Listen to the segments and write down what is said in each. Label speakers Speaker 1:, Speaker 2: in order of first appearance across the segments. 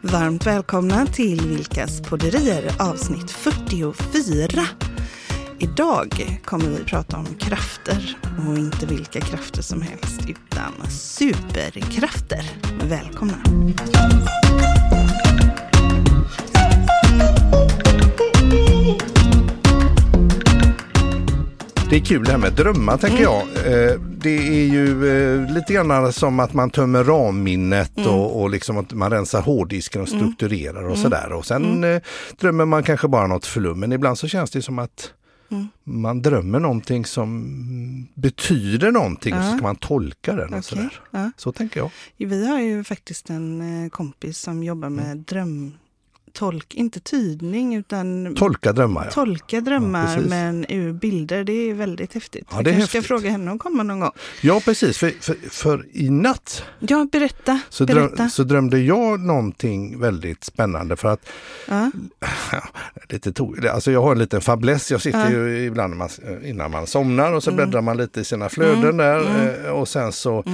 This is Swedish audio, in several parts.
Speaker 1: Varmt välkomna till Vilkas podderier avsnitt 44. Idag kommer vi prata om krafter och inte vilka krafter som helst utan superkrafter. Välkomna!
Speaker 2: Det är kul det här med drömmar tänker
Speaker 1: Mm.
Speaker 2: jag. Eh, Det är ju eh, lite grann som att man tömmer ramminnet
Speaker 1: Mm.
Speaker 2: och, och liksom att man rensar hårddisken och strukturerar och sådär. Och sen
Speaker 1: Mm.
Speaker 2: eh, drömmer man kanske bara något flum, men ibland så känns det som att
Speaker 1: Mm.
Speaker 2: man drömmer någonting som betyder någonting och så ska man tolka den och sådär.
Speaker 1: ja.
Speaker 2: Så tänker jag.
Speaker 1: Vi har ju faktiskt en eh, kompis som jobbar med
Speaker 2: Mm.
Speaker 1: drömtolk, inte tydning utan
Speaker 2: Tolka drömmar ja.
Speaker 1: tolka drömmar
Speaker 2: Ja, precis.
Speaker 1: men ur bilder. Det är väldigt häftigt.
Speaker 2: Ja,
Speaker 1: Jag
Speaker 2: det är
Speaker 1: kanske ska
Speaker 2: häftigt.
Speaker 1: fråga henne att komma någon gång.
Speaker 2: Ja precis, för, för, för i natt
Speaker 1: Ja, berätta.
Speaker 2: så,
Speaker 1: berätta.
Speaker 2: dröm, så drömde jag någonting väldigt spännande för att
Speaker 1: Ja.
Speaker 2: lite to- alltså jag har en liten fäbless, jag sitter ju ibland när man, innan man somnar och så bläddrar man lite i sina flöden där eh, och sen så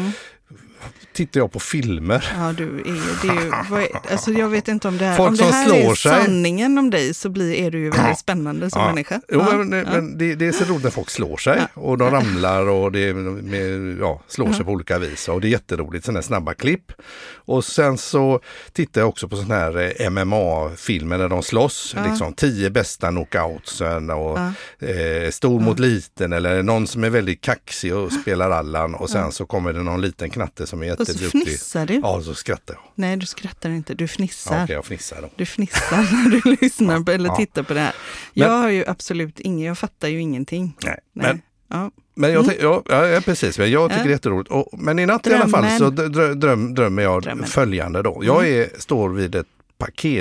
Speaker 2: tittar jag på filmer.
Speaker 1: Ja, du är ju, det är ju, vad är, alltså jag vet inte om det här,
Speaker 2: Folk
Speaker 1: om det
Speaker 2: som
Speaker 1: här
Speaker 2: slår
Speaker 1: är
Speaker 2: sig.
Speaker 1: sanningen om dig så blir, är du ju väldigt spännande som
Speaker 2: Ja.
Speaker 1: människa.
Speaker 2: Jo,
Speaker 1: ja.
Speaker 2: men, men det, det är så roligt när folk slår sig och de ramlar och det är med, ja, slår sig på olika vis. Och det är jätteroligt, sådana här snabba klipp. Och sen så tittar jag också på sådana här eh, MMA-filmer när de slåss. Liksom tio bästa knockoutsen och eh, stor mot liten eller någon som är väldigt kaxig och spelar Allan och sen så kommer det någon liten knatte som är
Speaker 1: och så
Speaker 2: jätteduktig.
Speaker 1: fnissar du.
Speaker 2: Ja, så skrattar jag.
Speaker 1: Nej, du skrattar inte, du
Speaker 2: Ja,
Speaker 1: fnissar.
Speaker 2: Okej, jag fnissar då.
Speaker 1: Du fnissar när du lyssnar på, eller
Speaker 2: Ja.
Speaker 1: tittar på det här.
Speaker 2: Men-
Speaker 1: Jag har ju absolut ingen, jag fattar ju ingenting.
Speaker 2: Nej,
Speaker 1: Nej.
Speaker 2: men
Speaker 1: ja.
Speaker 2: Men
Speaker 1: Mm.
Speaker 2: jag, tänk- ja, ja, ja, precis. Men jag tycker det är jätteroligt. Och, men i natt i alla fall så drö, dröm, drömmer jag
Speaker 1: Drömmen. Mm.
Speaker 2: följande då. Jag är, står vid ett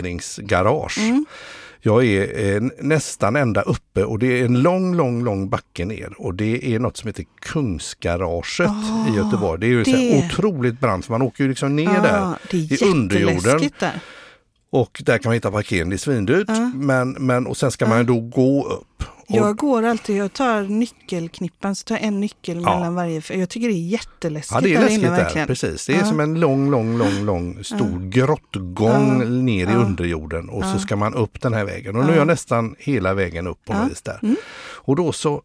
Speaker 2: parkeringsgarage. Jag är eh, nästan ända uppe och det är en lång, lång, lång backe ner. Och det är något som heter Kungsgaraget i Göteborg. Det är ju så
Speaker 1: Ah, det. Ah.
Speaker 2: här otroligt brant för man åker ju liksom ner där
Speaker 1: Ja, det är
Speaker 2: i underjorden.
Speaker 1: jätteläskigt där.
Speaker 2: Och där kan man hitta parkering, det är svindyrt.
Speaker 1: Ah.
Speaker 2: Men, men, och sen ska man ju då gå upp. Och
Speaker 1: Jag går alltid, jag tar nyckelknippan, så tar jag en nyckel
Speaker 2: Ja.
Speaker 1: mellan varje. för Jag tycker det är jätteläskigt
Speaker 2: Ja, det är
Speaker 1: där
Speaker 2: läskigt
Speaker 1: inne
Speaker 2: där.
Speaker 1: verkligen.
Speaker 2: Precis. Det är som en lång, lång, lång, lång stor grottgång ner i underjorden och så ska man upp den här vägen. Och nu är jag nästan hela vägen upp på något vis där.
Speaker 1: Mm.
Speaker 2: Och då så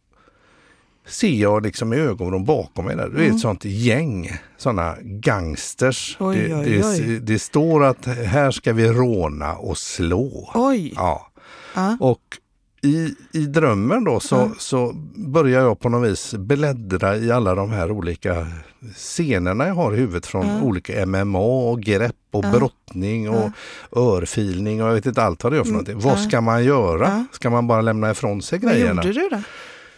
Speaker 2: ser jag liksom i ögonen bakom mig där, det är ett sånt gäng, sådana gangsters.
Speaker 1: Mm. Oj,
Speaker 2: det,
Speaker 1: oj,
Speaker 2: det,
Speaker 1: oj.
Speaker 2: det står att här ska vi råna och slå.
Speaker 1: Oj,
Speaker 2: Ja.
Speaker 1: Ja.
Speaker 2: Och i, i drömmen då så, så börjar jag på något vis bläddra i alla de här olika scenerna jag har i huvudet från olika MMA och grepp och brottning och örfilning och jag vet inte allt vad det gör för någonting. Vad ska man göra? Ska man bara lämna ifrån sig
Speaker 1: Mm. vad
Speaker 2: grejerna?
Speaker 1: gjorde du då?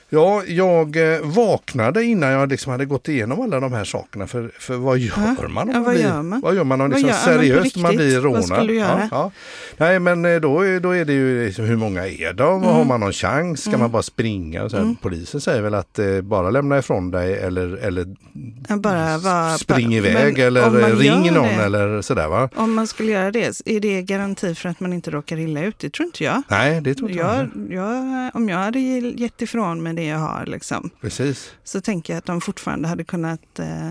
Speaker 2: Ja, jag eh, vaknade innan jag liksom hade gått igenom alla de här sakerna. För, för vad gör man? Om
Speaker 1: Ja, vad
Speaker 2: blir,
Speaker 1: gör man?
Speaker 2: Vad gör man om
Speaker 1: Vad
Speaker 2: liksom
Speaker 1: gör- ja, men på
Speaker 2: seriöst man
Speaker 1: riktigt,
Speaker 2: blir
Speaker 1: vad
Speaker 2: rånad?
Speaker 1: skulle du göra?
Speaker 2: Ja, ja. Nej, men eh, då, är- då är det ju liksom, hur många är de?
Speaker 1: Mm.
Speaker 2: Har man någon chans? Ska man bara springa? Och sen, Polisen säger väl att eh, bara lämna ifrån dig eller, eller
Speaker 1: Ja, Bara, var,
Speaker 2: spring
Speaker 1: bara-
Speaker 2: iväg
Speaker 1: men om
Speaker 2: eller
Speaker 1: man
Speaker 2: eh,
Speaker 1: gör
Speaker 2: ring någon
Speaker 1: det,
Speaker 2: eller sådär va?
Speaker 1: Om man skulle göra det, är det garanti för att man inte råkar illa ut? Det tror inte jag.
Speaker 2: Nej, det tror inte
Speaker 1: jag,
Speaker 2: jag.
Speaker 1: jag om jag hade gett ifrån mig det jag har liksom,
Speaker 2: Precis.
Speaker 1: så tänker jag att de fortfarande hade kunnat eh,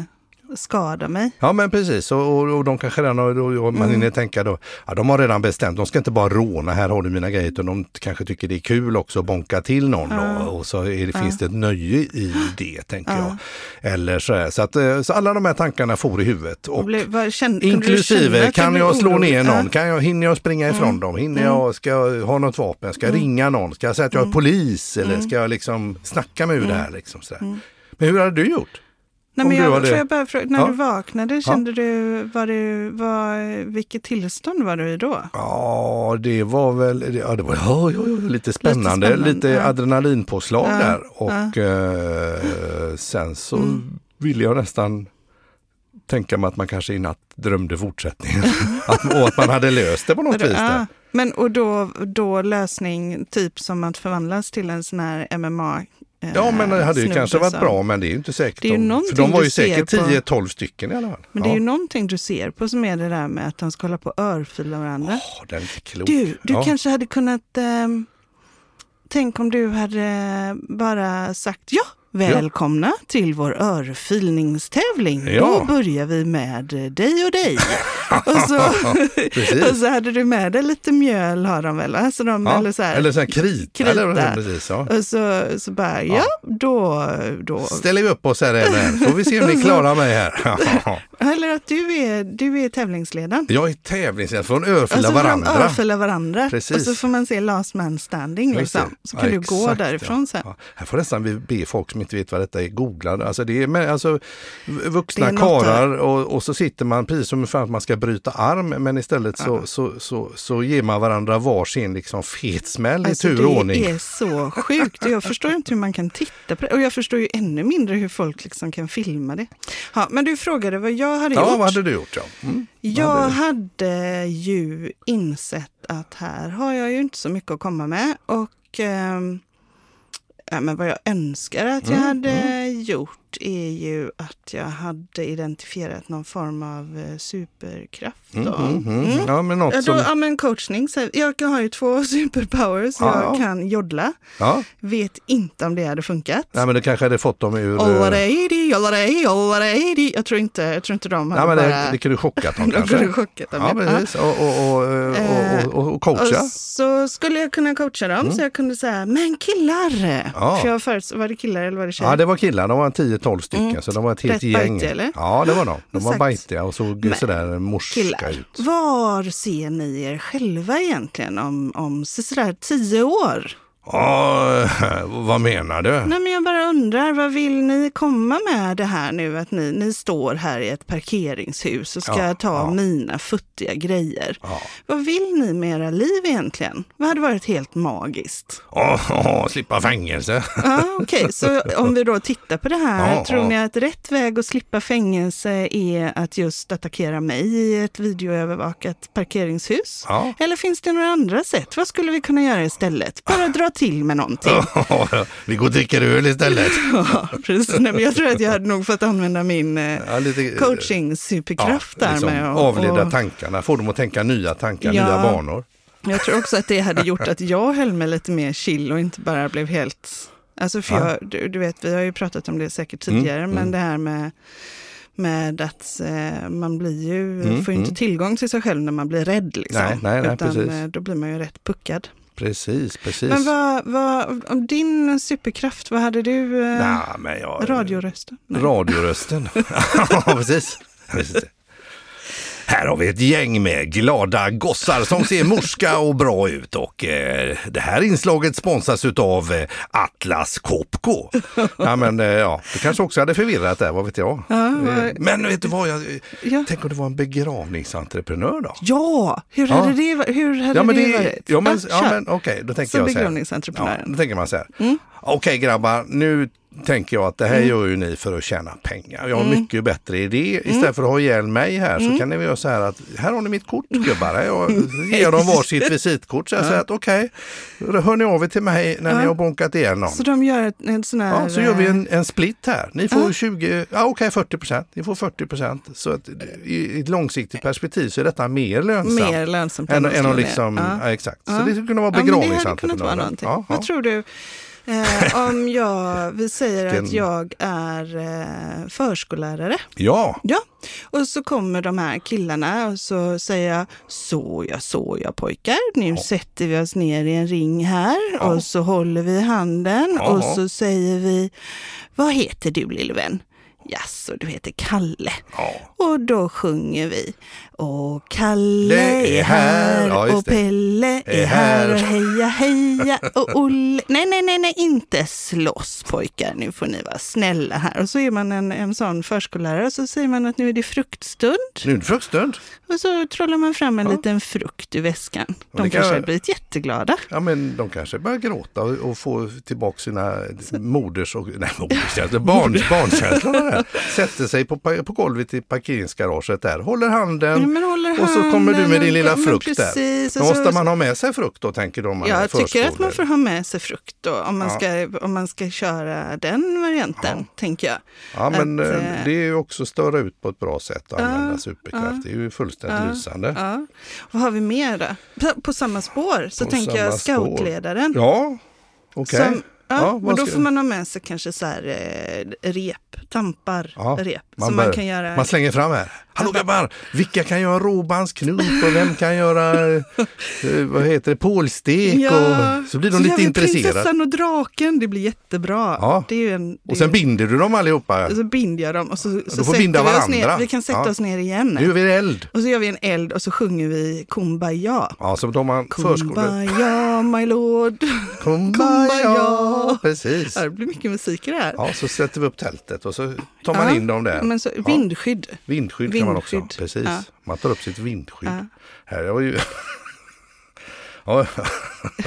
Speaker 1: skada mig.
Speaker 2: Ja men precis och, och, och de kanske redan har, och,
Speaker 1: Mm.
Speaker 2: och man hinner tänka då, ja, de har redan bestämt, de ska inte bara råna, här har du mina grejer, utan de kanske tycker det är kul också att bonka till någon då, och så är, det- finns det ett nöje i det tänker jag. Eller så, här, så, att, eh, så alla de här tankarna for i huvudet. Och,
Speaker 1: Och blev, var, kände, kunde du känna
Speaker 2: Inklusive,
Speaker 1: att du
Speaker 2: kan
Speaker 1: blev
Speaker 2: jag slå
Speaker 1: orolig?
Speaker 2: ner någon?
Speaker 1: Ja. Mm.
Speaker 2: Kan jag, hinner jag springa ifrån dem? Hinner jag, ska jag ha något vapen? Ska jag ringa någon? Ska jag säga att jag
Speaker 1: Mm.
Speaker 2: är polis? Eller ska jag liksom snacka mig ur det här? Liksom, så
Speaker 1: Mm.
Speaker 2: här. Men hur hade du gjort?
Speaker 1: Nej,
Speaker 2: om
Speaker 1: men
Speaker 2: du
Speaker 1: jag,
Speaker 2: hade-
Speaker 1: tror jag bara frågar, när
Speaker 2: Ja.
Speaker 1: du vaknade, kände du, var du var, vilket tillstånd var du i då?
Speaker 2: Ja, det var väl det- ja, det var, ja, ja, ja, lite spännande, lite,
Speaker 1: spännande, ja.
Speaker 2: adrenalinpåslag där. Och eh, sen så
Speaker 1: Mm.
Speaker 2: ville jag nästan tänka mig att man kanske i natt drömde fortsättningen. att, och att man hade löst det på något vis. Där.
Speaker 1: Ja. Men och då, då lösning, typ som att förvandlas till en sån här MMA eh,
Speaker 2: Ja, men det hade ju
Speaker 1: snubbe
Speaker 2: kanske varit
Speaker 1: som-
Speaker 2: bra, men det är ju inte säkert.
Speaker 1: Det är ju
Speaker 2: om- för
Speaker 1: någonting
Speaker 2: de var
Speaker 1: du
Speaker 2: ju
Speaker 1: ser
Speaker 2: säkert
Speaker 1: på-
Speaker 2: 10-12 stycken i alla fall.
Speaker 1: Men det är
Speaker 2: ja.
Speaker 1: ju någonting du ser på som är det där med att de ska hålla på och örfila varandra.
Speaker 2: Åh, Ah, den är klok.
Speaker 1: Du, du
Speaker 2: ja.
Speaker 1: kanske hade kunnat... ehm, tänk om du hade bara sagt ja, Välkomna till vår örfilningstävling.
Speaker 2: Ja.
Speaker 1: Då börjar vi med dig och dig. och, så,
Speaker 2: Precis.
Speaker 1: och så hade du med dig lite mjöl har de väl? Alltså de,
Speaker 2: Ja.
Speaker 1: eller så här.
Speaker 2: eller så här krita.
Speaker 1: krita.
Speaker 2: Eller, vad det är, precis, ja.
Speaker 1: Och så, så bara, ja, då, då.
Speaker 2: Ställer vi upp oss här även. Får vi se om ni klarar mig här.
Speaker 1: Eller att du är, du är tävlingsledaren.
Speaker 2: Jag är tävlingsledare för att örfila
Speaker 1: Och så Alltså, får de
Speaker 2: varandra.
Speaker 1: örfila varandra.
Speaker 2: Precis.
Speaker 1: Och så får man se last man standing
Speaker 2: Just det.
Speaker 1: liksom. Så kan
Speaker 2: Ja,
Speaker 1: du gå
Speaker 2: exakt,
Speaker 1: därifrån
Speaker 2: ja.
Speaker 1: sen.
Speaker 2: Ja. Här får nästan vi be folk som inte vet vad detta är googla. Alltså det är med, alltså, v- vuxna
Speaker 1: Det är något eh,
Speaker 2: karlar och, och så sitter man precis som för att man ska bryta arm men istället så, så, så, så ger man varandra varsin liksom fet smäll
Speaker 1: Alltså,
Speaker 2: i tur och
Speaker 1: det
Speaker 2: ordning.
Speaker 1: är så sjukt. Jag förstår inte hur man kan titta på det. Och jag förstår ju ännu mindre hur folk liksom kan filma det. Ja, men du frågade vad jag hade
Speaker 2: Ja,
Speaker 1: gjort.
Speaker 2: vad hade du gjort? Ja. Mm.
Speaker 1: Jag hade ju insett att här har jag ju inte så mycket att komma med. Och ehm, ja, men vad jag önskar att
Speaker 2: Mm,
Speaker 1: jag hade gjort är ju att jag hade identifierat någon form av eh, superkraft. Då.
Speaker 2: Mm, mm. Ja, men något
Speaker 1: Ja, då,
Speaker 2: som...
Speaker 1: ja, men coachning. Så jag kan- har ju två superpowers.
Speaker 2: Ja.
Speaker 1: Jag kan joddla.
Speaker 2: Ja.
Speaker 1: Vet inte om det hade funkat.
Speaker 2: Nej, men det kanske hade fått dem ur... eh,
Speaker 1: Allareidi, allareidi, allareidi. Jag tror inte, jag tror inte de hade
Speaker 2: Nej, men det,
Speaker 1: bara...
Speaker 2: det kunde chockat dem
Speaker 1: De
Speaker 2: kanske.
Speaker 1: kunde chockat dem,
Speaker 2: Ja,
Speaker 1: ja.
Speaker 2: precis. Och, och, och, eh, och, och, och coacha. Mm.
Speaker 1: Och så skulle jag kunna coacha dem så jag kunde säga, men killar!
Speaker 2: Ja.
Speaker 1: För jag förut, var det killar eller var det tjejer?
Speaker 2: Ja, det var killar. De var 10-12 stycken, så de var ett helt
Speaker 1: Mm. Rätt
Speaker 2: gäng.
Speaker 1: bajtiga, eller?
Speaker 2: Ja, det var de. De var
Speaker 1: Exakt.
Speaker 2: bajtiga och såg sådär morska
Speaker 1: killar.
Speaker 2: ut.
Speaker 1: Var ser ni er själva egentligen om, om så- sådär tio år?
Speaker 2: Ja, vad menar du?
Speaker 1: Nej, men jag bara undrar, vad vill ni komma med det här nu? Att ni, ni står här i ett parkeringshus och ska
Speaker 2: Ja,
Speaker 1: ta
Speaker 2: ja.
Speaker 1: mina futtiga grejer.
Speaker 2: Ja.
Speaker 1: Vad vill ni med era liv egentligen? Vad hade varit helt magiskt?
Speaker 2: Åh, åh, slippa fängelse.
Speaker 1: Ja, Okej, så om vi då tittar på det här,
Speaker 2: Ja,
Speaker 1: tror
Speaker 2: ja.
Speaker 1: ni att rätt väg att slippa fängelse är att just attackera mig i ett videoövervakat parkeringshus?
Speaker 2: Ja.
Speaker 1: Eller finns det några andra sätt? Vad skulle vi kunna göra istället? Bara dra till med någonting.
Speaker 2: Vi går och dricker öl istället.
Speaker 1: Ja, precis. Nej, men jag tror att jag hade nog fått använda min eh,
Speaker 2: Ja, lite-
Speaker 1: coaching-superkraft där
Speaker 2: liksom
Speaker 1: med. och-
Speaker 2: avleda
Speaker 1: och-
Speaker 2: tankarna, få dem att tänka nya tankar,
Speaker 1: Ja.
Speaker 2: nya banor.
Speaker 1: Jag tror också att det hade gjort att jag höll mig lite mer chill och inte bara blev helt... Alltså för jag, du, du vet, vi har ju pratat om det säkert
Speaker 2: Mm,
Speaker 1: tidigare, men det här med, med att eh, man blir ju, får ju inte tillgång till sig själv när man blir rädd. Liksom,
Speaker 2: Mm, Nej, nej, nej,
Speaker 1: utan
Speaker 2: precis.
Speaker 1: eh, då blir man ju rätt puckad.
Speaker 2: Precis, precis.
Speaker 1: Men vad, vad, om din superkraft, vad hade du? Eh,
Speaker 2: Nej, men jag...
Speaker 1: Radiorösten? Nej.
Speaker 2: Radiorösten. ja, precis. precis. Här har vi ett gäng med glada gossar som ser morska och bra ut och eh, det här inslaget sponsras utav eh, Atlas Copco. ja, men eh, ja, det kanske också hade förvirrat där, vad vet jag. Eh, men vet du vad, jag, eh,
Speaker 1: Ja.
Speaker 2: tänk om det var en begravningsentreprenör då?
Speaker 1: Ja, hur hade det varit? Hur hade
Speaker 2: Ja men,
Speaker 1: det,
Speaker 2: det,
Speaker 1: varit?
Speaker 2: ja, men,
Speaker 1: Ah,
Speaker 2: ja,
Speaker 1: kör.
Speaker 2: men okej, då tänker
Speaker 1: Så
Speaker 2: jag så
Speaker 1: begravningsentreprenören.
Speaker 2: Ja, då tänker man så här.
Speaker 1: Mm.
Speaker 2: Okej grabbar, nu tänker jag att det här gör ju ni för att tjäna pengar. Jag har
Speaker 1: Mm.
Speaker 2: mycket bättre idé. Istället för att ha ihjäl mig här så kan ni väl göra så här att här har ni mitt kort
Speaker 1: Mm.
Speaker 2: gubbar. Jag ger dem varsitt visitkort. Så jag säger att okej, hör ni av er till mig när ni har bonkat igen någon.
Speaker 1: Så de gör ett, en sån här...
Speaker 2: Ja, så gör vi
Speaker 1: eh,
Speaker 2: en, en split här. Ni får 20, ja okej 40 procent. Ni får 40 procent. Så att, i, i ett långsiktigt perspektiv så är detta mer lönsamt.
Speaker 1: Mer lönsamt
Speaker 2: Än,
Speaker 1: att
Speaker 2: än att
Speaker 1: slå ner.
Speaker 2: liksom,
Speaker 1: Ja.
Speaker 2: ja. exakt. Så det skulle kunna vara
Speaker 1: Ja, men det hade
Speaker 2: begravningsentreprenören.
Speaker 1: kunnat vara någonting.
Speaker 2: Ja, ja.
Speaker 1: Vad tror du? Eh, om jag, vi säger
Speaker 2: Vilken-
Speaker 1: att jag är eh, förskollärare.
Speaker 2: ja.
Speaker 1: Ja, och så kommer de här killarna och så säger jag så ja, så ja pojkar, nu sätter vi oss ner i en ring här och så håller vi handen
Speaker 2: Ja.
Speaker 1: och så säger vi vad heter du lille vän? Jaså, du heter Kalle.
Speaker 2: Ja.
Speaker 1: Och då sjunger vi. Och Kalle
Speaker 2: Det
Speaker 1: är
Speaker 2: är här.
Speaker 1: här
Speaker 2: Ja, just
Speaker 1: och
Speaker 2: det.
Speaker 1: Pelle är
Speaker 2: Är
Speaker 1: här
Speaker 2: här.
Speaker 1: och heja heja och Olle. Nej, nej, nej, nej, inte slåss pojkar. Nu får ni vara snälla här. Och så är man en, en sån förskollärare och så säger man att nu är det fruktstund.
Speaker 2: Nu är det fruktstund.
Speaker 1: Och så trollar man fram en liten frukt ur väskan. De
Speaker 2: det kan-
Speaker 1: kanske har blivit jätteglada.
Speaker 2: Ja, men de kanske börjar gråta och, och få tillbaka sina moders och nej, moderskänslor, barns, barnkänslor. Där. Sätter sig på, pa- på golvet i parkeringsgaraget där, håller handen
Speaker 1: Ja, men håller
Speaker 2: och så kommer du med
Speaker 1: handen,
Speaker 2: din lilla
Speaker 1: men
Speaker 2: frukt
Speaker 1: precis,
Speaker 2: där.
Speaker 1: och så-
Speaker 2: Måste man ha med sig frukt då, tänker de? om man är
Speaker 1: Jag tycker att
Speaker 2: förskolor?
Speaker 1: man får ha med sig frukt då, om man, ska, om man ska köra den varianten, tänker jag.
Speaker 2: Ja, men
Speaker 1: Att,
Speaker 2: eh,
Speaker 1: eh,
Speaker 2: det är ju också störa ut på ett bra sätt och använda superkraft. Det är ju fullständigt lysande.
Speaker 1: Ja. Vad har vi mer då? På, på samma spår så
Speaker 2: På
Speaker 1: tänker jag
Speaker 2: samma spår.
Speaker 1: scoutledaren.
Speaker 2: Ja, okej.
Speaker 1: Som, Ja,
Speaker 2: Ja,
Speaker 1: men
Speaker 2: vad
Speaker 1: då
Speaker 2: ska-
Speaker 1: får man ha med sig kanske så här eh, rep, tampar,
Speaker 2: Ja,
Speaker 1: rep.
Speaker 2: man
Speaker 1: som man
Speaker 2: bör-
Speaker 1: kan göra.
Speaker 2: Man slänger fram här. Hallå grabbar! Vilka kan göra råbandsknut och vem kan göra eh, vad heter det, pålstek? Och, så blir de
Speaker 1: gör
Speaker 2: lite
Speaker 1: vi
Speaker 2: intresserade.
Speaker 1: Prinsessan och draken, det blir jättebra.
Speaker 2: Ja.
Speaker 1: Det är ju en, det
Speaker 2: Och
Speaker 1: är
Speaker 2: sen
Speaker 1: ju-
Speaker 2: binder du dem allihopa.
Speaker 1: och så binder jag dem och så, så
Speaker 2: får binda
Speaker 1: vi oss
Speaker 2: varandra.
Speaker 1: ner. Vi kan sätta
Speaker 2: Ja.
Speaker 1: oss ner igen.
Speaker 2: Nu är vi eld.
Speaker 1: Och så gör vi en eld och så sjunger vi Kumbaya.
Speaker 2: Ja, så tar man förskolan.
Speaker 1: Kumbaya my lord. Kumbaya.
Speaker 2: Kumbaya! Precis.
Speaker 1: Ja, Det blir mycket musik i det här.
Speaker 2: Ja, så sätter vi upp tältet och så tar man
Speaker 1: Ja,
Speaker 2: in dem där.
Speaker 1: Men så,
Speaker 2: Ja.
Speaker 1: vindskydd.
Speaker 2: Vindskydd kan man också ha.
Speaker 1: Vindskydd,
Speaker 2: Precis.
Speaker 1: ja.
Speaker 2: Man tar upp sitt vindskydd.
Speaker 1: Ja.
Speaker 2: Här har ju... ja,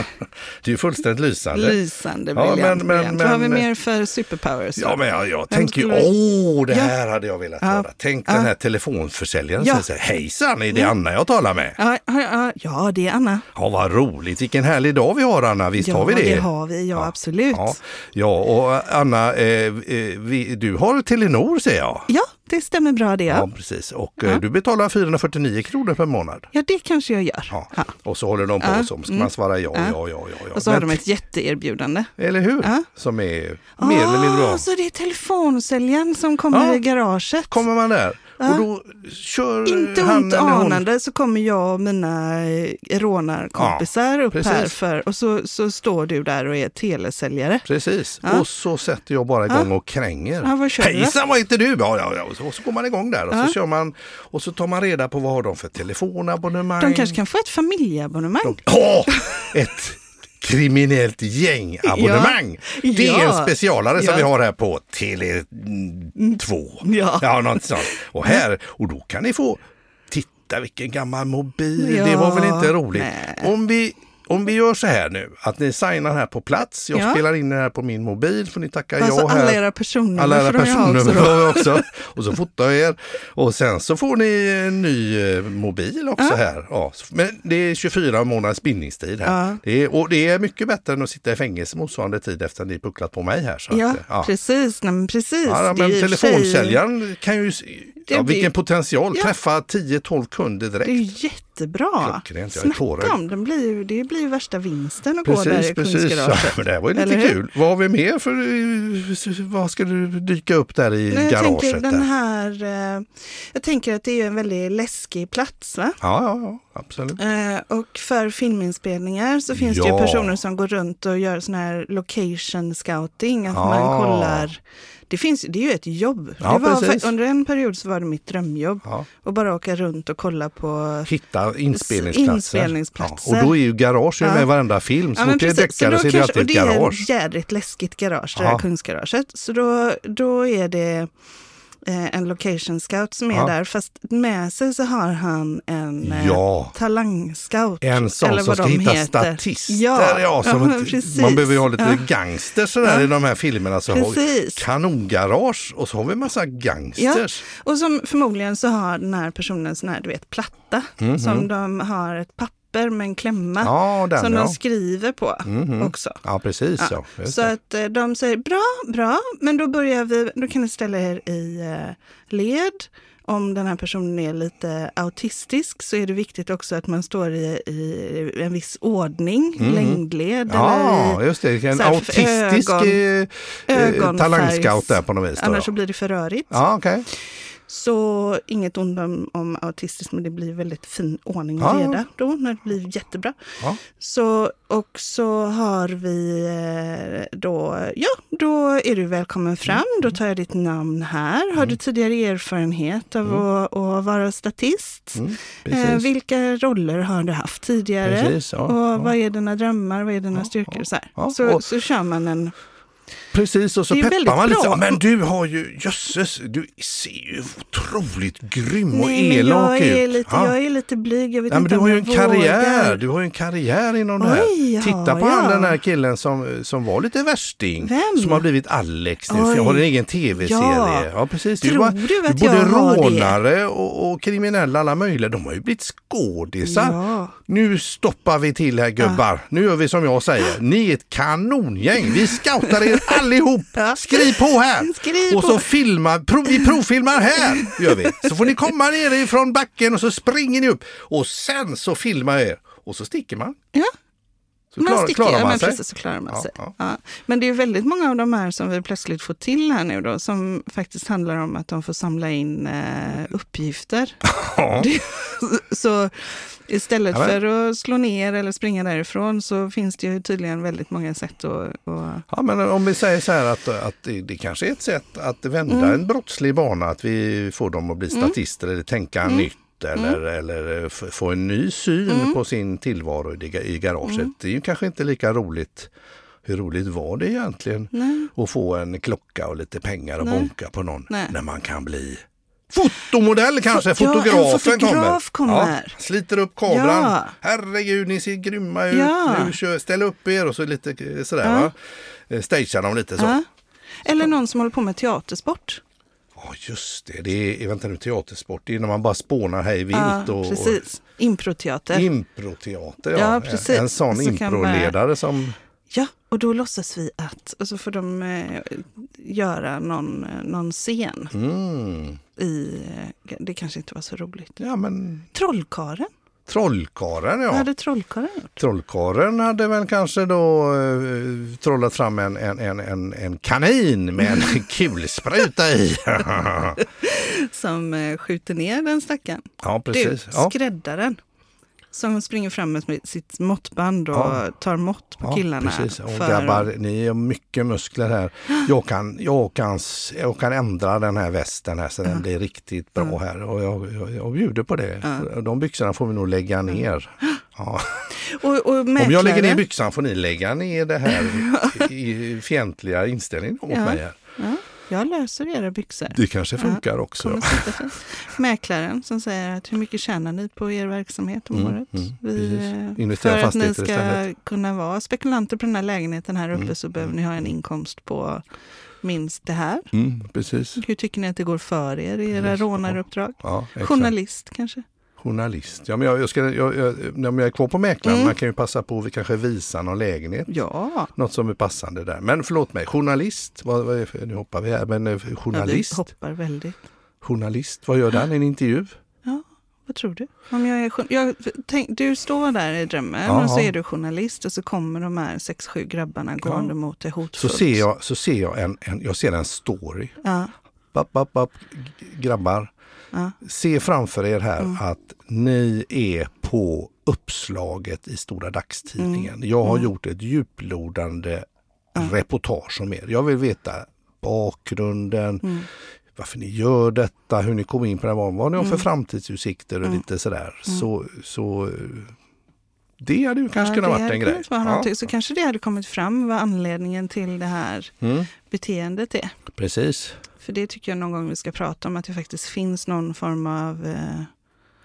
Speaker 2: det är ju fullständigt lysande.
Speaker 1: Lysande,
Speaker 2: Ja,
Speaker 1: briljant.
Speaker 2: men- men-
Speaker 1: briljant. Vad har vi
Speaker 2: men-
Speaker 1: mer för superpowers?
Speaker 2: Ja, men jag, jag
Speaker 1: Vem
Speaker 2: tänker ju,
Speaker 1: skulle du-
Speaker 2: åh, det
Speaker 1: Ja.
Speaker 2: här hade jag velat
Speaker 1: Ja.
Speaker 2: höra. Tänk den här telefonförsäljaren
Speaker 1: Ja. Mm.
Speaker 2: som säger, hejsan, är det Anna jag talar med?
Speaker 1: Ja, ja, ja, ja, det är Anna.
Speaker 2: Ja, vad roligt, vilken härlig dag vi har Anna, visst
Speaker 1: ja,
Speaker 2: har vi det?
Speaker 1: det har vi. Ja, absolut.
Speaker 2: Ja,
Speaker 1: Ja.
Speaker 2: ja och Anna, eh, eh, vi, du har Telenor ser jag.
Speaker 1: det stämmer bra det. Ja.
Speaker 2: precis. Och eh, du betalar 449 kronor per månad.
Speaker 1: ja, det kanske jag gör.
Speaker 2: Ja.
Speaker 1: Ja.
Speaker 2: Och så håller de på
Speaker 1: Ja.
Speaker 2: så, ska man svara ja, ja, ja, ja. ja.
Speaker 1: Och så har
Speaker 2: Men-
Speaker 1: de ett jätteerbjudande.
Speaker 2: Eller hur?
Speaker 1: Ja.
Speaker 2: Som är mer eller mindre bra.
Speaker 1: Ah, Så det är telefonsäljaren som kommer
Speaker 2: Ja.
Speaker 1: i garaget.
Speaker 2: Kommer man där och då kör
Speaker 1: Inte
Speaker 2: han
Speaker 1: ont
Speaker 2: eller hon
Speaker 1: anande så kommer jag och mina eh, rånarkompisar upp
Speaker 2: precis.
Speaker 1: här för, och så, så står du där och är telesäljare.
Speaker 2: Precis, och så sätter jag bara igång och kränger.
Speaker 1: Ja, vad kör du då?
Speaker 2: Hejsan, vad heter du? Ja, ja, ja. Och så- Och så går man igång där och, så kör man, och så tar man reda på vad har de för telefonabonnemang.
Speaker 1: De kanske kan få ett familjeabonnemang.
Speaker 2: Ja, ett kriminellt gängabonnemang.
Speaker 1: Ja.
Speaker 2: Det är
Speaker 1: Ja.
Speaker 2: en specialare som
Speaker 1: Ja. Mm.
Speaker 2: vi har här på Tele2.
Speaker 1: Ja.
Speaker 2: ja, något sånt. Och här, och då kan ni få, titta vilken gammal mobil,
Speaker 1: Ja.
Speaker 2: det var väl inte roligt.
Speaker 1: Nej.
Speaker 2: Om vi om vi gör så här nu, att ni signar här på plats, jag
Speaker 1: Ja.
Speaker 2: spelar in det här på min mobil, får ni tacka
Speaker 1: Alltså
Speaker 2: ja här.
Speaker 1: alla era personnummer
Speaker 2: Alla era
Speaker 1: får de ju ha
Speaker 2: personnummer
Speaker 1: också då.
Speaker 2: har vi också. Och så fotar jag er. Och sen så får ni en ny eh, mobil också här. Ja. Men det är 24 månaders bindningstid här.
Speaker 1: Ja.
Speaker 2: Det är, och det är mycket bättre än att sitta i fängelse motsvarande tid efter att ni pucklat på mig här. Så
Speaker 1: Ja,
Speaker 2: att, eh, ja.
Speaker 1: precis. Nej, men precis.
Speaker 2: Ja,
Speaker 1: Det är
Speaker 2: men
Speaker 1: ju i och för sig-
Speaker 2: telefonsäljaren kan ju... s- Ja,
Speaker 1: blir-
Speaker 2: vilken potential!
Speaker 1: Ja.
Speaker 2: Träffa 10-12 kunder
Speaker 1: Det är ju
Speaker 2: direkt.
Speaker 1: jättebra.
Speaker 2: Klockrent, jag är
Speaker 1: Snacka
Speaker 2: tårögd.
Speaker 1: om, den blir ju, det blir ju värsta vinsten att gå där
Speaker 2: Precis,
Speaker 1: i
Speaker 2: precis. Ja,
Speaker 1: Kungsgaraget.
Speaker 2: men det här var ju lite
Speaker 1: Eller hur?
Speaker 2: kul. Vad har vi mer för... eh, s- Vad ska du dyka upp där i
Speaker 1: Nej, jag
Speaker 2: garaget?
Speaker 1: tänker, den
Speaker 2: där?
Speaker 1: här, eh, jag tänker att det är ju en väldigt läskig plats. Va?
Speaker 2: Ja, ja, ja, absolut.
Speaker 1: Eh, Och för filminspelningar så finns det ju
Speaker 2: Ja.
Speaker 1: personer som går runt och gör sån här location scouting, att
Speaker 2: Ja.
Speaker 1: man kollar. Det, finns, det är ju ett jobb.
Speaker 2: Ja,
Speaker 1: det var,
Speaker 2: precis.
Speaker 1: för- under en period så var det mitt drömjobb.
Speaker 2: Ja.
Speaker 1: Och bara åka runt och kolla på
Speaker 2: hitta inspelningsplatser.
Speaker 1: Inspelningsplatser.
Speaker 2: Ja, och då är ju garage
Speaker 1: Ja.
Speaker 2: med i varenda film. Så
Speaker 1: Ja,
Speaker 2: fort
Speaker 1: men
Speaker 2: det är
Speaker 1: precis. Så
Speaker 2: deckare
Speaker 1: då
Speaker 2: så är det
Speaker 1: kanske,
Speaker 2: alltid
Speaker 1: och
Speaker 2: ett
Speaker 1: det är
Speaker 2: garage.
Speaker 1: ett jädrigt läskigt garage, det
Speaker 2: Ja.
Speaker 1: här Kungsgaraget. Så då, då är det eh, en location scout som är
Speaker 2: Ja.
Speaker 1: där, fast med sig så har han en eh,
Speaker 2: Ja.
Speaker 1: talangscout.
Speaker 2: En sån
Speaker 1: eller
Speaker 2: som
Speaker 1: vad
Speaker 2: ska
Speaker 1: de
Speaker 2: hitta
Speaker 1: heter.
Speaker 2: statister.
Speaker 1: Ja,
Speaker 2: Ja. som
Speaker 1: men
Speaker 2: ett-
Speaker 1: precis.
Speaker 2: man behöver ju ha lite
Speaker 1: Ja.
Speaker 2: gangsters sådär i de här filmerna. Så har vi
Speaker 1: Precis.
Speaker 2: kanongarage och så har vi en massa
Speaker 1: Ja,
Speaker 2: gangsters.
Speaker 1: och som förmodligen så har den här personen sån här, du vet, platta som de har ett papper med en klämma
Speaker 2: Mhm. Ja, den,
Speaker 1: som
Speaker 2: ja. Mhm.
Speaker 1: de skriver på också.
Speaker 2: Ja, precis
Speaker 1: Ja,
Speaker 2: så. Just
Speaker 1: Så
Speaker 2: det.
Speaker 1: att eh, de säger bra, bra, men då börjar vi, då kan ni ställa er i eh, led. Om den här personen är lite autistisk så är det viktigt också att man står i, i en viss ordning, längdled
Speaker 2: Mm. Ja,
Speaker 1: eller i,
Speaker 2: just det. En
Speaker 1: så här,
Speaker 2: autistisk
Speaker 1: ögon-
Speaker 2: eh, eh,
Speaker 1: ögonfärgs-
Speaker 2: talangscout där på något vis. då,
Speaker 1: annars så
Speaker 2: ja.
Speaker 1: blir det för rörigt.
Speaker 2: Ja, okej.
Speaker 1: Så inget ont om, om autistiskt, men det blir väldigt fin ordning och
Speaker 2: Ja, ja.
Speaker 1: reda då när det blir jättebra.
Speaker 2: Ja.
Speaker 1: Så, och så har vi eh, då, ja, då är du
Speaker 2: Mm.
Speaker 1: välkommen fram. Då tar jag ditt namn här. Har du tidigare erfarenhet av att, att vara statist?
Speaker 2: Mm. precis.
Speaker 1: Eh, vilka roller har du haft tidigare?
Speaker 2: Precis, ja,
Speaker 1: och
Speaker 2: ja.
Speaker 1: vad är dina drömmar? Vad är dina styrkor? Så, här.
Speaker 2: ja.
Speaker 1: så,
Speaker 2: Och-
Speaker 1: så kör man en...
Speaker 2: Precis, och så
Speaker 1: Det är ju
Speaker 2: peppar
Speaker 1: väldigt
Speaker 2: man lite.
Speaker 1: bra.
Speaker 2: så, Men du har ju, jösses, du ser ju otroligt grym och
Speaker 1: Nej, men
Speaker 2: elak
Speaker 1: jag är,
Speaker 2: ut.
Speaker 1: lite,
Speaker 2: Ja.
Speaker 1: jag är lite blyg. Jag vet
Speaker 2: Ja, men
Speaker 1: inte
Speaker 2: du
Speaker 1: om
Speaker 2: har ju
Speaker 1: jag
Speaker 2: en karriär,
Speaker 1: vågar.
Speaker 2: du har ju en karriär inom det
Speaker 1: Oj,
Speaker 2: här.
Speaker 1: ja,
Speaker 2: Titta på han
Speaker 1: ja.
Speaker 2: den här killen som, som var lite värsting.
Speaker 1: Vem?
Speaker 2: Som har blivit Alex nu, för
Speaker 1: Oj.
Speaker 2: jag har en egen tv-serie.
Speaker 1: Ja.
Speaker 2: Ja, precis.
Speaker 1: Tror
Speaker 2: bara-
Speaker 1: du att
Speaker 2: både
Speaker 1: jag har det?
Speaker 2: rånare och, och kriminella, alla möjliga, de har ju blivit skådisar.
Speaker 1: Ja.
Speaker 2: Nu stoppar vi till här gubbar. Nu gör vi som jag säger. Ni är ett kanongäng. Vi scoutar er allihop. Skriv på här!
Speaker 1: Skriv
Speaker 2: och
Speaker 1: på.
Speaker 2: så filmar, prov, vi provfilmar här! Gör vi. Så får ni komma ner ifrån backen och så springer ni upp. Och sen så filmar jag er. Och så sticker man.
Speaker 1: Ja.
Speaker 2: Så klar,
Speaker 1: sticker,
Speaker 2: klarar
Speaker 1: ja,
Speaker 2: man
Speaker 1: men
Speaker 2: sig.
Speaker 1: Precis, så klarar man
Speaker 2: Ja,
Speaker 1: sig.
Speaker 2: ja.
Speaker 1: Ja. Men det är väldigt många av de här som vi plötsligt får till här nu då, som faktiskt handlar om att de får samla in eh, uppgifter.
Speaker 2: Ja.
Speaker 1: Det, så istället
Speaker 2: Ja, men-
Speaker 1: för att slå ner eller springa därifrån så finns det ju tydligen väldigt många sätt att... att
Speaker 2: Ja, men om vi säger så här att, att det, det kanske är ett sätt att vända
Speaker 1: Mm.
Speaker 2: en brottslig bana, att vi får dem att bli statister eller tänka
Speaker 1: Mm.
Speaker 2: nytt eller, eller eh, f- få en ny syn på sin tillvaro i det- i garaget.
Speaker 1: Mm.
Speaker 2: Det är ju kanske inte lika roligt. Hur roligt var det egentligen att få en klocka och lite pengar och bonka på någon
Speaker 1: Nej.
Speaker 2: när man kan bli fotomodell kanske,
Speaker 1: Fo- ja, en
Speaker 2: fotografen kommer.
Speaker 1: fotograf kommer.
Speaker 2: Ja, sliter upp kameran.
Speaker 1: Ja.
Speaker 2: Herregud, ni ser grymma ut.
Speaker 1: Ja.
Speaker 2: Nu kör, ställ upp er och så lite eh, sådär va. Eh, Stagea dem lite så.
Speaker 1: Ja.
Speaker 2: Ja.
Speaker 1: Eller någon som håller på med teatersport.
Speaker 2: just det, det är, eh, vänta nu, teatersport, det är när man bara spånar hej vilt
Speaker 1: Ja,
Speaker 2: och, och
Speaker 1: precis. Improteater.
Speaker 2: improteater. Ja.
Speaker 1: Ja, precis.
Speaker 2: En sån
Speaker 1: Så kan man-
Speaker 2: improledare som,
Speaker 1: Ja, och då låtsas vi att, och så får de eh, göra någon, eh, någon scen.
Speaker 2: mm,
Speaker 1: I, eh, det kanske inte var så roligt.
Speaker 2: ja men
Speaker 1: Trollkaren.
Speaker 2: trollkarlen ja.
Speaker 1: Vad hade trollkaren gjort?
Speaker 2: Trollkarlen hade väl kanske då eh, trollat fram en, en, en, en, en kanin med en kulspruta i.
Speaker 1: Som eh, skjuter ner den stackaren.
Speaker 2: ja, precis.
Speaker 1: Du,
Speaker 2: Ja.
Speaker 1: skräddaren. Som springer fram med sitt måttband och
Speaker 2: Ja.
Speaker 1: tar mått på
Speaker 2: Ja,
Speaker 1: killarna.
Speaker 2: precis. Och
Speaker 1: för-
Speaker 2: grabbar, ni har mycket muskler här. Jag kan, jag, kan, s- jag kan ändra den här västen här så den blir riktigt bra här. Och jag, jag, jag bjuder på det. De byxorna får vi nog lägga ner. Ja.
Speaker 1: och, och
Speaker 2: Om
Speaker 1: mäklaren-
Speaker 2: jag lägger ner byxan får ni lägga ner det här i- i fientliga inställningen mot
Speaker 1: Ja.
Speaker 2: mig. Här.
Speaker 1: ja, Jag löser era byxor.
Speaker 2: Det kanske funkar också.
Speaker 1: Kommer sitta fint. Mäklaren som säger att hur mycket tjänar ni på er verksamhet om året? Vi,
Speaker 2: Mm, precis.
Speaker 1: eh,
Speaker 2: Investera
Speaker 1: för att ni
Speaker 2: fastigheter
Speaker 1: ska
Speaker 2: istället. Mm,
Speaker 1: kunna vara spekulanter på den här lägenheten här uppe så behöver ni ha en inkomst på minst det här.
Speaker 2: Mm, precis.
Speaker 1: Hur tycker ni att det går för er i era
Speaker 2: Precis, ja.
Speaker 1: rånaruppdrag?
Speaker 2: Ja, exakt.
Speaker 1: Journalist kanske?
Speaker 2: Journalist. Ja, men jag, jag ska, jag, jag, när jag är kvar på mäklaren,
Speaker 1: Mm.
Speaker 2: man kan ju passa på att kanske visa någon lägenhet.
Speaker 1: Ja,
Speaker 2: Något som är passande där. Men förlåt mig, journalist. Vad, vad är för, nu hoppar vi här, men eh,
Speaker 1: ja vi
Speaker 2: journalist.
Speaker 1: hoppar väldigt.
Speaker 2: journalist, vad gör den? En intervju?
Speaker 1: Ja, vad tror du? Om jag är, jour- jag, tänk, du står där i drömmen och så
Speaker 2: Jaha.
Speaker 1: är du journalist och så kommer de här sex, sju grabbarna gående mot dig
Speaker 2: Så
Speaker 1: hotfullt.
Speaker 2: ser jag, så ser jag, en, en, jag ser en story.
Speaker 1: Ja,
Speaker 2: Bapp, bapp, bapp, g- grabbar.
Speaker 1: ja. Mm.
Speaker 2: Se framför er här att ni är på uppslaget i Stora dagstidningen.
Speaker 1: Mm.
Speaker 2: Jag har gjort ett djuplodande reportage om er. Jag vill veta bakgrunden,
Speaker 1: Mm.
Speaker 2: varför ni gör detta, hur ni kom in på den här banan, vad ni har
Speaker 1: Mm.
Speaker 2: för framtidsutsikter och lite sådär. Så, så eh, det hade ju kanske
Speaker 1: Ja,
Speaker 2: kunnat
Speaker 1: det
Speaker 2: varit
Speaker 1: hade
Speaker 2: en grej.
Speaker 1: kunnat vara
Speaker 2: Ja,
Speaker 1: någonting. Så kanske det hade kommit fram vad anledningen till det här beteendet är.
Speaker 2: Mm. precis.
Speaker 1: För det tycker jag någon gång vi ska prata om, att det faktiskt finns någon form av eh,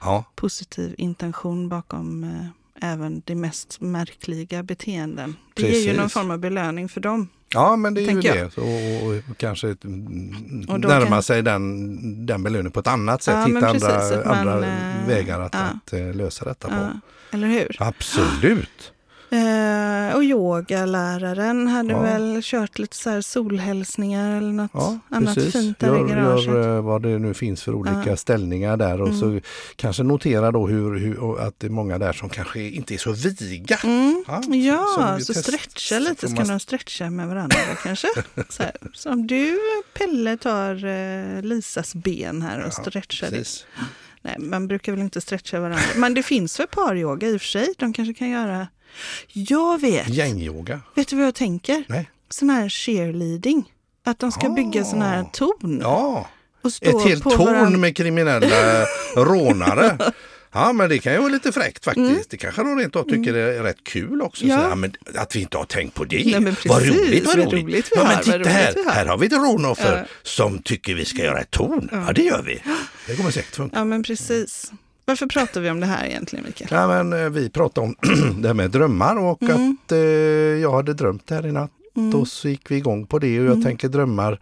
Speaker 2: Ja,
Speaker 1: positiv intention bakom eh, även de mest märkliga beteenden. Det ger ju
Speaker 2: Precis.
Speaker 1: någon form av belöning för dem.
Speaker 2: ja men det är ju
Speaker 1: Tänker jag.
Speaker 2: det. Så, och, och kanske ett, mm,
Speaker 1: Och då
Speaker 2: närma
Speaker 1: kan-
Speaker 2: sig den, den belöningen på ett annat sätt.
Speaker 1: Ja, men
Speaker 2: Hitta andra,
Speaker 1: precis, att man,
Speaker 2: andra
Speaker 1: eh,
Speaker 2: vägar att,
Speaker 1: ja.
Speaker 2: att eh, lösa detta på.
Speaker 1: Ja, eller hur?
Speaker 2: Absolut!
Speaker 1: Eh, och yogaläraren hade
Speaker 2: Ja.
Speaker 1: väl kört lite så här solhälsningar eller något
Speaker 2: Ja,
Speaker 1: annat
Speaker 2: precis.
Speaker 1: fint där i
Speaker 2: Gör,
Speaker 1: garaget. Mm.
Speaker 2: gör eh, vad det nu finns för olika ställningar där och så kanske notera då hur, hur, och att det är många där som kanske inte är så viga.
Speaker 1: Mm.
Speaker 2: Ja, så-
Speaker 1: Ja,
Speaker 2: så
Speaker 1: så,
Speaker 2: vi test-
Speaker 1: stretcha
Speaker 2: så
Speaker 1: lite.
Speaker 2: får
Speaker 1: Ska
Speaker 2: man-
Speaker 1: de stretcha med varandra kanske? Så här, som du, Pelle, tar eh, Lisas ben här och stretchar det.
Speaker 2: Precis.
Speaker 1: Nej, man brukar väl inte stretcha varandra. Men det finns väl paryoga i och för sig. De kanske kan göra... Jag vet!
Speaker 2: Gängyoga.
Speaker 1: Vet du vad jag tänker?
Speaker 2: Nej.
Speaker 1: Sån här cheerleading. Att de ska bygga sån här torn.
Speaker 2: Ah. Ja,
Speaker 1: Och stå
Speaker 2: ett helt
Speaker 1: på
Speaker 2: torn
Speaker 1: varandra.
Speaker 2: med kriminella rånare. Ja men det kan ju vara lite fräckt faktiskt. Det kanske de rent av tycker är rätt kul också.
Speaker 1: Mm. Ja.
Speaker 2: Så, ja, men att vi inte har tänkt på det.
Speaker 1: Nej, men
Speaker 2: vad
Speaker 1: precis.
Speaker 2: roligt, vad roligt.
Speaker 1: vi
Speaker 2: ja,
Speaker 1: har,
Speaker 2: men
Speaker 1: vad
Speaker 2: titta
Speaker 1: roligt
Speaker 2: här,
Speaker 1: vi har.
Speaker 2: här har vi ett rånoffer som tycker vi ska göra ett torn. Ja det gör vi. Det kommer säkert funka.
Speaker 1: Ja, men precis. Varför pratar vi om det här egentligen, Mikael?
Speaker 2: Ja, men, eh, vi pratade om det här med drömmar och
Speaker 1: Mm.
Speaker 2: att eh, jag hade drömt det här i natt. Och så gick vi igång på det och
Speaker 1: Mm.
Speaker 2: jag tänker drömmar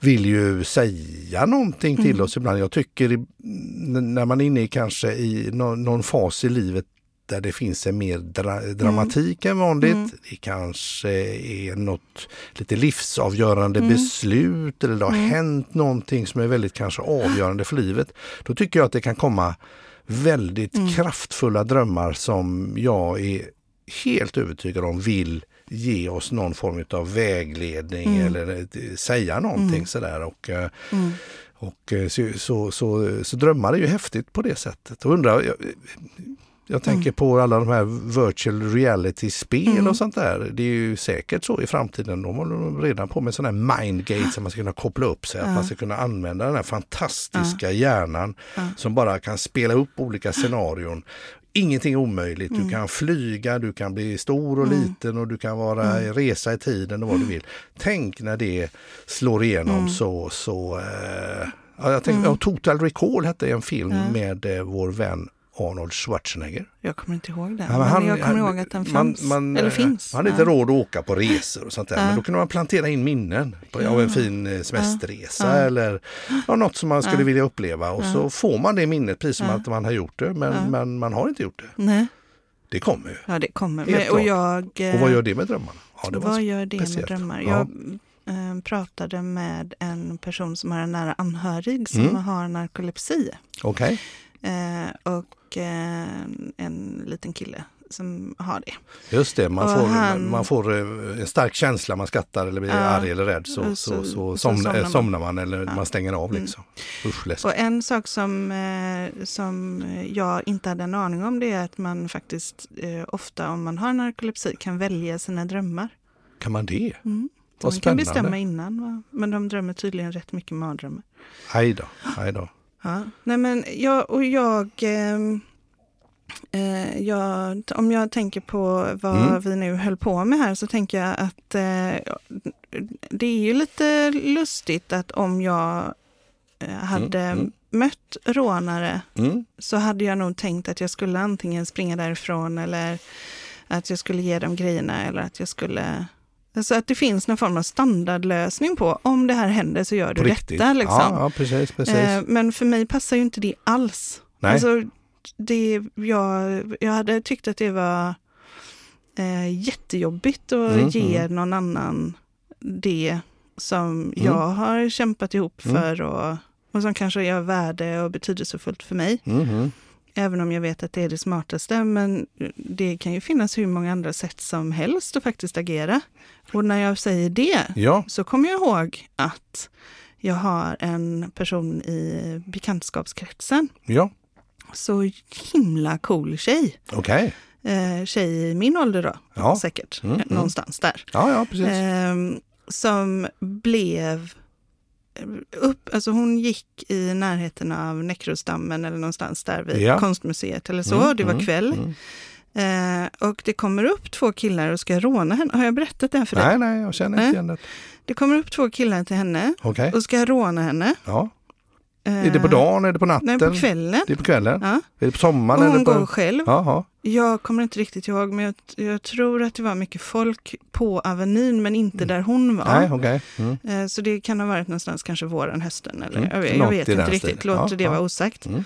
Speaker 2: vill ju säga någonting till oss ibland. Jag tycker i, n- när man är inne i kanske i nå- någon fas i livet där det finns en mer dra dramatik än vanligt. Det kanske är något lite livsavgörande beslut eller det har hänt någonting som är väldigt kanske avgörande för livet. Då tycker jag att det kan komma väldigt kraftfulla drömmar som jag är helt övertygad om vill ge oss någon form av vägledning eller eh, säga någonting sådär. Och, eh, och eh, så, så, så, så drömmar är ju häftigt på det sättet. Och undrar, jag, jag tänker på alla de här virtual reality-spel och sånt där. Det är ju säkert så i framtiden. De håller de redan på med sådana här mindgates som man ska kunna koppla upp sig. Att man ska kunna använda den här fantastiska hjärnan som bara kan spela upp olika scenarion. Ingenting är omöjligt. Du kan flyga, du kan bli stor och liten och du kan vara, resa i tiden och vad du vill. Tänk när det slår igenom så, så eh, ja, jag tänkte, ja, Total Recall hette en film med eh, vår vän Arnold Schwarzenegger.
Speaker 1: Jag kommer inte ihåg den.
Speaker 2: Ja, men
Speaker 1: men
Speaker 2: han-
Speaker 1: jag kommer
Speaker 2: han-
Speaker 1: ihåg att den
Speaker 2: man-
Speaker 1: fanns.
Speaker 2: man,
Speaker 1: Eller
Speaker 2: eh,
Speaker 1: finns.
Speaker 2: Man hade inte
Speaker 1: Ja.
Speaker 2: råd att åka på resor och sånt där. Men då kunde man plantera in minnen på, av en fin eh, semesterresa eller ja, något som man skulle vilja uppleva. Och så får man det minnet precis som att man har gjort det men, men man har inte gjort det.
Speaker 1: Nej,
Speaker 2: Det kommer ju.
Speaker 1: ja det kommer.
Speaker 2: Helt
Speaker 1: Men, och,
Speaker 2: klart.
Speaker 1: jag, eh,
Speaker 2: Och vad gör det med drömmarna? Ja, det var
Speaker 1: vad gör det
Speaker 2: speciellt.
Speaker 1: med drömmar?
Speaker 2: Ja.
Speaker 1: Jag eh, pratade med en person som har en nära anhörig som
Speaker 2: Mm.
Speaker 1: har narkolepsi.
Speaker 2: Okej,
Speaker 1: Eh, och eh, en liten kille som har det.
Speaker 2: just det. Man
Speaker 1: Och
Speaker 2: får,
Speaker 1: han-
Speaker 2: man får eh, en stark känsla, man skrattar eller blir
Speaker 1: Ja.
Speaker 2: arg eller rädd så, så,
Speaker 1: Och
Speaker 2: så,
Speaker 1: så- så
Speaker 2: somnar,
Speaker 1: somnar
Speaker 2: eh,
Speaker 1: man. Mm.
Speaker 2: somnar man eller man stänger av liksom. Usch, läskigt.
Speaker 1: Och en sak som, eh, som jag inte hade en aning om det är att man faktiskt eh, ofta om man har narkolepsi kan välja sina drömmar.
Speaker 2: Kan man det?
Speaker 1: Mm. Så
Speaker 2: Vad
Speaker 1: man kan
Speaker 2: spännande.
Speaker 1: bestämma innan, va? men de drömmer tydligen rätt mycket mardrömmar.
Speaker 2: Aj då, aj då.
Speaker 1: Ja. Nej, men jag, och jag, ehm, eh, jag, om jag tänker på vad
Speaker 2: Mm.
Speaker 1: vi nu höll på med här så tänker jag att eh, det är ju lite lustigt att om jag eh, hade
Speaker 2: mm.
Speaker 1: mött rånare
Speaker 2: Mm.
Speaker 1: så hade jag nog tänkt att jag skulle antingen springa därifrån eller att jag skulle ge dem grejerna eller att jag skulle... Alltså att det finns någon form av standardlösning på om det här händer så gör du
Speaker 2: På riktigt. Ah.
Speaker 1: detta.
Speaker 2: Ja,
Speaker 1: Liksom.
Speaker 2: ja precis. precis.
Speaker 1: eh, men för mig passar ju inte det alls.
Speaker 2: Nej.
Speaker 1: Alltså, det, jag, jag hade tyckt att det var eh, jättejobbigt att
Speaker 2: Mm, Mm.
Speaker 1: ge någon annan det som jag har kämpat ihop för och, och som kanske är av värde och betydelsefullt för mig.
Speaker 2: Mhm.
Speaker 1: Även om jag vet att det är det smartaste, men det kan ju finnas hur många andra sätt som helst att faktiskt agera. Och när jag säger det
Speaker 2: Ja,
Speaker 1: så kommer jag ihåg att jag har en person i bekantskapskretsen,
Speaker 2: ja,
Speaker 1: så himla cool tjej.
Speaker 2: okej.
Speaker 1: Eh, tjej i min ålder då,
Speaker 2: Ja.
Speaker 1: säkert,
Speaker 2: Mm, mm.
Speaker 1: någonstans där.
Speaker 2: Ja, ja, precis.
Speaker 1: Ehm, som blev upp, alltså hon gick i närheten av Näckrosdammen eller någonstans där vid
Speaker 2: Ja.
Speaker 1: konstmuseet eller så,
Speaker 2: Mm,
Speaker 1: det var
Speaker 2: mm,
Speaker 1: kväll.
Speaker 2: mm.
Speaker 1: Ehm, och det kommer upp två killar och ska råna henne. Har jag berättat det här för dig?
Speaker 2: nej, nej, jag känner
Speaker 1: Nej.
Speaker 2: inte igen det.
Speaker 1: Det kommer upp två killar till henne
Speaker 2: Okej.
Speaker 1: och ska råna henne.
Speaker 2: Ja.
Speaker 1: Ehm,
Speaker 2: Är det på dagen, är det på natten?
Speaker 1: Nej, på kvällen.
Speaker 2: Det är på kvällen?
Speaker 1: Ja.
Speaker 2: Är det på sommaren?
Speaker 1: Och
Speaker 2: Eller
Speaker 1: hon
Speaker 2: på...
Speaker 1: går själv.
Speaker 2: Jaha.
Speaker 1: Jag kommer inte riktigt ihåg, men jag, jag tror att det var mycket folk på Avenyn, men inte där hon var.
Speaker 2: Mm. Nej, okej. Mm.
Speaker 1: Eh, Så det kan ha varit någonstans kanske våren, hösten eller
Speaker 2: Mm,
Speaker 1: jag vet,
Speaker 2: något
Speaker 1: jag
Speaker 2: i
Speaker 1: vet
Speaker 2: den
Speaker 1: inte
Speaker 2: stilen.
Speaker 1: riktigt, låter
Speaker 2: Ja,
Speaker 1: det
Speaker 2: ja.
Speaker 1: vara osagt.
Speaker 2: Mm.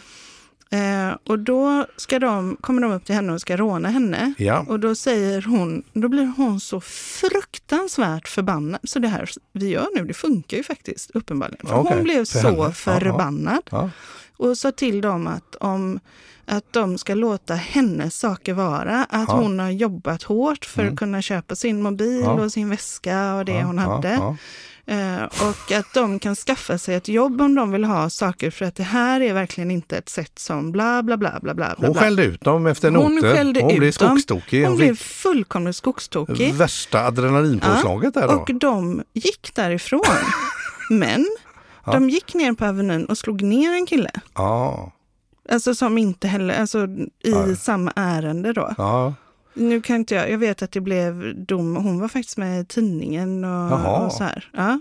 Speaker 1: Eh, och då ska de, kommer de upp till henne och ska råna henne.
Speaker 2: Ja.
Speaker 1: Och då säger hon, då blir hon så fruktansvärt förbannad. Så det här vi gör nu, det funkar ju faktiskt uppenbarligen. För
Speaker 2: Okej,
Speaker 1: Hon blev
Speaker 2: för henne.
Speaker 1: så
Speaker 2: Ja, ja.
Speaker 1: förbannad
Speaker 2: Ja.
Speaker 1: och sa till dem att, om, att de ska låta hennes saker vara. Att
Speaker 2: Ja. Mm.
Speaker 1: hon har jobbat hårt för att kunna köpa sin mobil
Speaker 2: Ja.
Speaker 1: och sin väska och det
Speaker 2: ja,
Speaker 1: hon
Speaker 2: ja,
Speaker 1: hade.
Speaker 2: Ja.
Speaker 1: Eh, Och att de kan skaffa sig ett jobb om de vill ha saker för att det här är verkligen inte ett sätt som bla bla bla bla bla. bla,
Speaker 2: Hon
Speaker 1: bla.
Speaker 2: skällde ut dem efter noter.
Speaker 1: Hon skällde
Speaker 2: hon
Speaker 1: ut
Speaker 2: blev
Speaker 1: dem.
Speaker 2: skogstokig.
Speaker 1: Hon
Speaker 2: Hon
Speaker 1: blev
Speaker 2: fick
Speaker 1: fullkomligt skogstokig.
Speaker 2: värsta adrenalinpåslaget där då.
Speaker 1: Och de gick därifrån. Men de gick ner på Avenyn och slog ner en kille.
Speaker 2: Ja.
Speaker 1: Alltså som inte heller, alltså i samma ärende då.
Speaker 2: ja.
Speaker 1: Nu kan inte jag, jag vet att det blev dom, hon var faktiskt med i tidningen och,
Speaker 2: Jaha.
Speaker 1: och så här. Ja.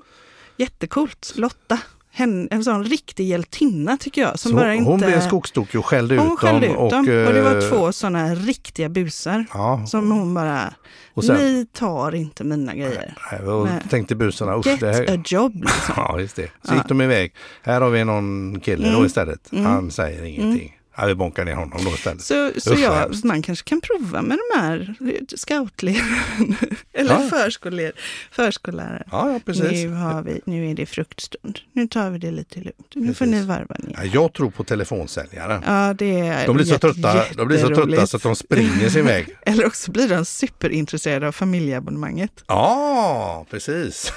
Speaker 1: Jättecoolt, Lotta. Hen, en sån riktig hjältinna tycker jag. Som
Speaker 2: Så
Speaker 1: bara
Speaker 2: hon,
Speaker 1: inte,
Speaker 2: hon blev skogstokig och skällde
Speaker 1: hon
Speaker 2: ut
Speaker 1: skällde
Speaker 2: dem.
Speaker 1: ut dem. Och, det
Speaker 2: eh,
Speaker 1: var två såna riktiga busar.
Speaker 2: Ja.
Speaker 1: Som hon bara,
Speaker 2: Och sen-
Speaker 1: ni tar inte mina grejer.
Speaker 2: Nej, och
Speaker 1: Nej.
Speaker 2: tänkte busarna, usch
Speaker 1: Get
Speaker 2: det här,
Speaker 1: a job liksom. Mm.
Speaker 2: Ja, just det. Så gick de iväg. Här har vi någon kille då istället. Han säger ingenting. Ja, vi bonkar ner honom då istället.
Speaker 1: Så, så
Speaker 2: Usch, vad
Speaker 1: jag,
Speaker 2: hemskt.
Speaker 1: man kanske kan prova med de här scoutläraren eller
Speaker 2: Ja.
Speaker 1: förskoller, förskollärare.
Speaker 2: Ja, ja precis.
Speaker 1: Nu, har vi, nu är det fruktstund. Nu tar vi det lite lugnt. Nu får
Speaker 2: Precis.
Speaker 1: ni varva ner.
Speaker 2: Ja, jag tror på telefonsäljaren.
Speaker 1: Ja, det är
Speaker 2: De blir, så
Speaker 1: jätte-
Speaker 2: trötta, de blir så trötta
Speaker 1: jätteroligt.
Speaker 2: så att de springer sin väg.
Speaker 1: Eller också blir de superintresserade av familjeabonnemanget.
Speaker 2: Ja, precis.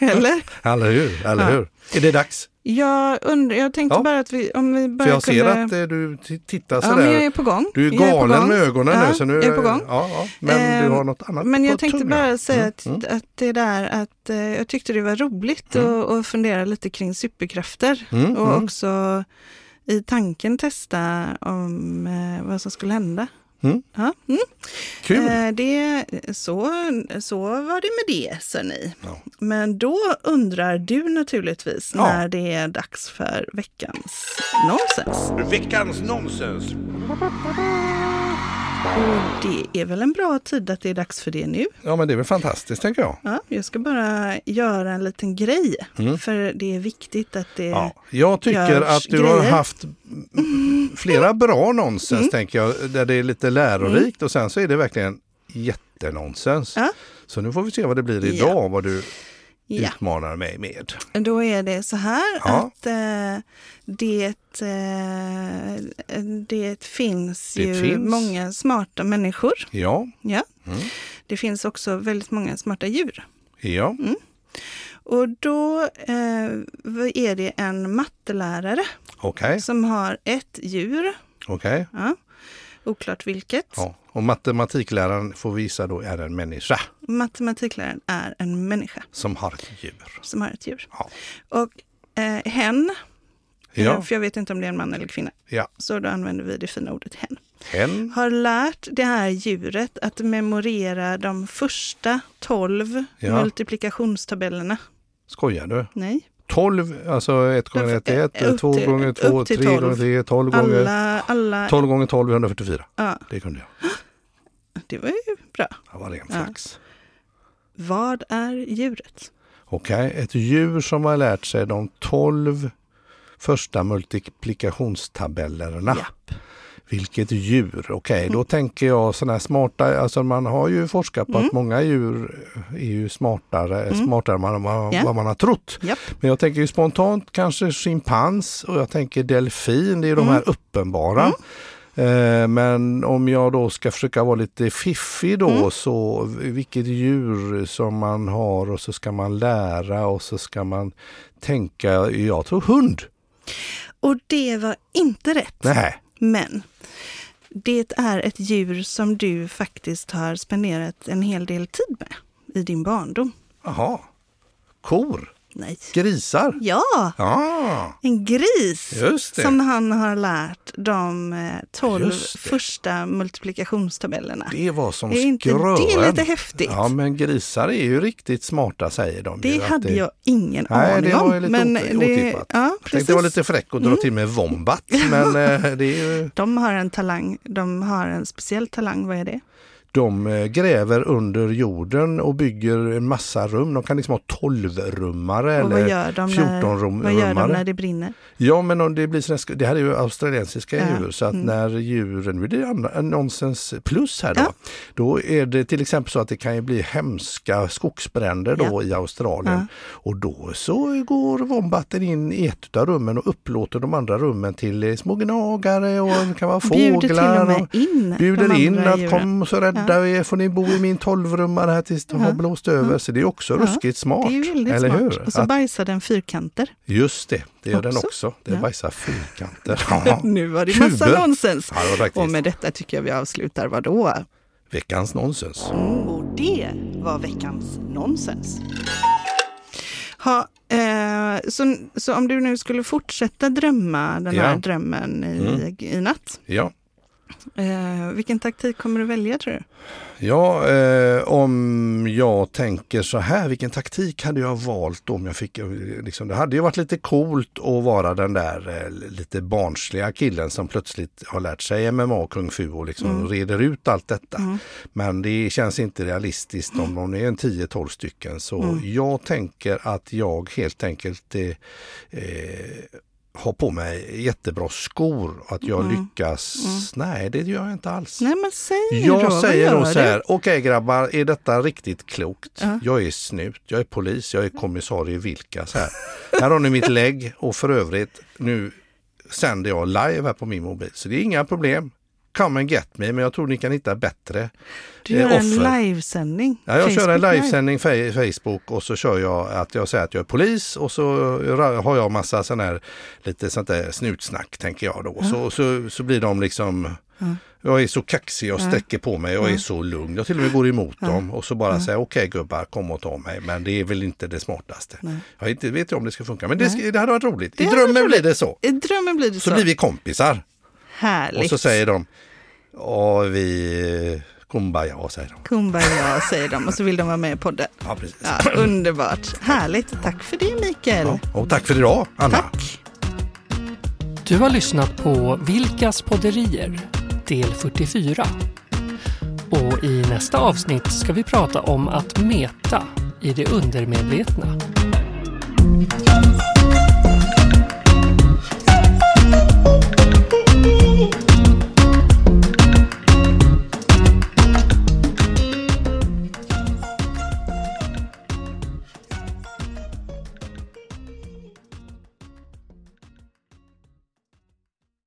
Speaker 1: Eller?
Speaker 2: Eller hur? Eller
Speaker 1: Ja.
Speaker 2: hur? Är det dags?
Speaker 1: Jag, undrar, jag tänkte
Speaker 2: Ja.
Speaker 1: bara att vi, om vi bara
Speaker 2: För jag ser
Speaker 1: kunde...
Speaker 2: att eh, du t- tittar
Speaker 1: Ja, men
Speaker 2: sådär.
Speaker 1: jag är på gång.
Speaker 2: du är
Speaker 1: Jag på
Speaker 2: galen
Speaker 1: gång.
Speaker 2: med ögonen
Speaker 1: ja,
Speaker 2: nu. Så nu
Speaker 1: jag är på gång.
Speaker 2: Ja, ja. Men
Speaker 1: Ehm,
Speaker 2: du har något annat
Speaker 1: Men
Speaker 2: på
Speaker 1: jag tänkte
Speaker 2: tungan.
Speaker 1: bara säga
Speaker 2: Mm,
Speaker 1: att, att det där att eh, jag tyckte det var roligt att, att fundera lite kring superkrafter
Speaker 2: Mm,
Speaker 1: och
Speaker 2: mm.
Speaker 1: också i tanken testa om eh, vad som skulle hända.
Speaker 2: Mm.
Speaker 1: Ja, mm.
Speaker 2: Kul!
Speaker 1: Eh, det, så, så var det med det, sa ni.
Speaker 2: Ja.
Speaker 1: Men då undrar du naturligtvis
Speaker 2: Ja.
Speaker 1: när det är dags för veckans nonsens.
Speaker 2: Veckans nonsens!
Speaker 1: Och det är väl en bra tid att det är dags för det nu?
Speaker 2: Ja, men det är väl fantastiskt tänker jag.
Speaker 1: Ja, jag ska bara göra en liten grej, för det är viktigt att det...
Speaker 2: Mm. Ja, jag tycker
Speaker 1: görs
Speaker 2: att du har
Speaker 1: grejer. Mm.
Speaker 2: haft flera bra nonsens, tänker jag, där det är lite lärorikt och sen så är det verkligen jättenonsens.
Speaker 1: Ja.
Speaker 2: Så nu får vi se vad det blir
Speaker 1: Ja.
Speaker 2: idag, vad du
Speaker 1: Ja,
Speaker 2: utmanar mig med.
Speaker 1: då är det så här
Speaker 2: Ja.
Speaker 1: att eh, det, eh, det finns
Speaker 2: Det
Speaker 1: ju
Speaker 2: finns. Mm.
Speaker 1: många smarta människor.
Speaker 2: Ja,
Speaker 1: Ja. Det finns också väldigt många smarta djur.
Speaker 2: ja,
Speaker 1: Mm. Och då eh, vad är det en mattelärare
Speaker 2: okej,
Speaker 1: som har ett djur,
Speaker 2: okej.
Speaker 1: ja, oklart vilket.
Speaker 2: Ja. Och matematikläraren får vi gissa då är en människa
Speaker 1: Matematikläraren är en människa
Speaker 2: som har ett djur.
Speaker 1: som har ett djur.
Speaker 2: Ja,
Speaker 1: Och eh, hen, eh,
Speaker 2: ja,
Speaker 1: för jag vet inte om det är en man eller kvinna,
Speaker 2: ja.
Speaker 1: så då använder vi det fina ordet hen.
Speaker 2: hen,
Speaker 1: Har lärt det här djuret att memorera de första 12
Speaker 2: Ja.
Speaker 1: multiplikationstabellerna.
Speaker 2: skojar du?
Speaker 1: Nej,
Speaker 2: 12, alltså 1 gånger 1 är
Speaker 1: Upp till-
Speaker 2: 1, 2 gånger
Speaker 1: upp
Speaker 2: 2,
Speaker 1: till
Speaker 2: 3 gånger
Speaker 1: 12.
Speaker 2: 3, 12 gånger
Speaker 1: alla, alla,
Speaker 2: 12 gånger 12 är 144.
Speaker 1: ja,
Speaker 2: Det kunde jag.
Speaker 1: det var ju bra.
Speaker 2: Det var ren
Speaker 1: Ja.
Speaker 2: flax.
Speaker 1: Vad är djuret?
Speaker 2: Okej, ett djur som har lärt sig de 12 första multiplikationstabellerna.
Speaker 1: Japp. Mm.
Speaker 2: Vilket djur? Okej, då tänker jag sådana här smarta, alltså man har ju forskat
Speaker 1: Mm.
Speaker 2: på att många djur är ju smartare, smartare än man, man,
Speaker 1: Ja.
Speaker 2: vad man har trott.
Speaker 1: Japp.
Speaker 2: Men jag tänker ju spontant kanske schimpans och jag tänker delfin, det är ju
Speaker 1: Mm.
Speaker 2: de här uppenbara. Eh, Men om jag då ska försöka vara lite fiffig då,
Speaker 1: Mm.
Speaker 2: så vilket djur som man har och så ska man lära och så ska man tänka, jag tror hund.
Speaker 1: Och det var inte rätt.
Speaker 2: Nej,
Speaker 1: Men det är ett djur som du faktiskt har spenderat en hel del tid med i din barndom.
Speaker 2: jaha. Kor,
Speaker 1: Nej.
Speaker 2: grisar.
Speaker 1: Ja,
Speaker 2: Ja,
Speaker 1: en gris
Speaker 2: just det.
Speaker 1: som han har lärt de eh, 12
Speaker 2: Just det.
Speaker 1: första multiplikationstabellerna.
Speaker 2: Det var som
Speaker 1: Är inte det
Speaker 2: skrören.
Speaker 1: lite häftigt?
Speaker 2: Ja, men grisar är ju riktigt smarta säger de. ju,
Speaker 1: Det
Speaker 2: att
Speaker 1: hade jag ingen
Speaker 2: Nej,
Speaker 1: aning
Speaker 2: det var
Speaker 1: om.
Speaker 2: ju lite
Speaker 1: men
Speaker 2: ot-
Speaker 1: det-
Speaker 2: otippat.
Speaker 1: Ja,
Speaker 2: Jag tänkte vara
Speaker 1: precis. Mm.
Speaker 2: lite fräck och dra till med Wombat, men eh, det är ju,
Speaker 1: De har en talang, de har en speciell talang, vad är det?
Speaker 2: de eh, gräver under jorden och bygger en massa rum. De kan liksom ha 12-rummare
Speaker 1: Och vad
Speaker 2: eller
Speaker 1: gör de när,
Speaker 2: 14-rummare.
Speaker 1: vad gör de när det brinner?
Speaker 2: Ja, men om det blir sådana, sk- det här är ju australiensiska
Speaker 1: Ja, Mm.
Speaker 2: djur, så att när djuren, nu är det an- nonsens plus här då,
Speaker 1: Ja.
Speaker 2: då är det till exempel så att det kan ju bli hemska skogsbränder då
Speaker 1: Ja.
Speaker 2: i Australien.
Speaker 1: Ja.
Speaker 2: Och då så går vombatten in i ett av rummen och upplåter de andra rummen till eh, små gnagare och det kan vara fåglar.
Speaker 1: Bjuder till och med in de
Speaker 2: bjuder
Speaker 1: andra
Speaker 2: in att
Speaker 1: djuren.
Speaker 2: kom så rädda vi er, får ni bo i min tolvrummare här tills det har blåst över. Så det är också ruskigt smart.
Speaker 1: Det är väldigt
Speaker 2: eller
Speaker 1: smart.
Speaker 2: hur?
Speaker 1: Och så
Speaker 2: Att-
Speaker 1: bajsar den fyrkanter.
Speaker 2: Just det, det gör den
Speaker 1: Också.
Speaker 2: också. Den
Speaker 1: Ja.
Speaker 2: bajsar fyrkanter. Ja.
Speaker 1: Nu var det massa
Speaker 2: Kuber.
Speaker 1: nonsens.
Speaker 2: Ja, det var faktiskt.
Speaker 1: Och med detta tycker jag vi avslutar vadå?
Speaker 2: Veckans nonsens.
Speaker 1: Och det var veckans nonsens. Ha, eh, så, så om du nu skulle fortsätta drömma den
Speaker 2: Ja. Mm.
Speaker 1: här drömmen i, i natt,
Speaker 2: Ja,
Speaker 1: eh, vilken taktik kommer du välja tror du?
Speaker 2: ja eh, om jag tänker så här, vilken taktik hade jag valt om jag fick, eh, liksom, det hade ju varit lite coolt att vara den där eh, lite barnsliga killen som plötsligt har lärt sig MMA och kung fu och liksom reder ut allt detta. Men det känns inte realistiskt om de är en 10-12 stycken. Så jag tänker att jag helt enkelt eh, eh, ha på mig jättebra skor och att jag lyckas. Nej, det gör jag inte alls.
Speaker 1: Nej men säg
Speaker 2: Jag
Speaker 1: då, vad
Speaker 2: säger
Speaker 1: gör
Speaker 2: då så här,
Speaker 1: du?
Speaker 2: okej grabbar, är detta riktigt klokt?
Speaker 1: Ja.
Speaker 2: Jag är snut, jag är polis, jag är kommissarie Vilkas här. här har ni mitt lägg och för övrigt, nu sänder jag live här på min mobil, så det är inga problem. Come and get me, men jag tror ni kan hitta bättre
Speaker 1: Du
Speaker 2: eh,
Speaker 1: gör en
Speaker 2: offer.
Speaker 1: livesändning.
Speaker 2: Ja, jag kör en
Speaker 1: Facebook
Speaker 2: livesändning fe- Facebook och så kör jag att jag säger att jag är polis och så ra- har jag massa sån här lite sånt där snutsnack tänker jag då. Så, så, så blir de liksom Jag är så kaxig, jag sträcker på mig, jag är så lugn. Jag till och med går emot dem och så bara säger okej gubbar, kom och ta mig. Men det är väl inte det smartaste. Jag vet inte vet jag om det ska funka, men det, ska, det hade varit roligt. I
Speaker 1: hade varit
Speaker 2: drömmen blir det så.
Speaker 1: I drömmen blir det så.
Speaker 2: Så blir vi kompisar.
Speaker 1: Härligt.
Speaker 2: Och så säger de, ja vi, kumbaya säger de.
Speaker 1: Kumbaya säger de och så vill de vara med i podden.
Speaker 2: Ja, precis.
Speaker 1: Ja, underbart. Härligt. Tack för det Mikael.
Speaker 2: Ja, och tack för idag, Anna.
Speaker 1: Tack.
Speaker 3: Du har lyssnat på Vilkas podderier, del 44. Och i nästa avsnitt ska vi prata om att meta i det undermedvetna.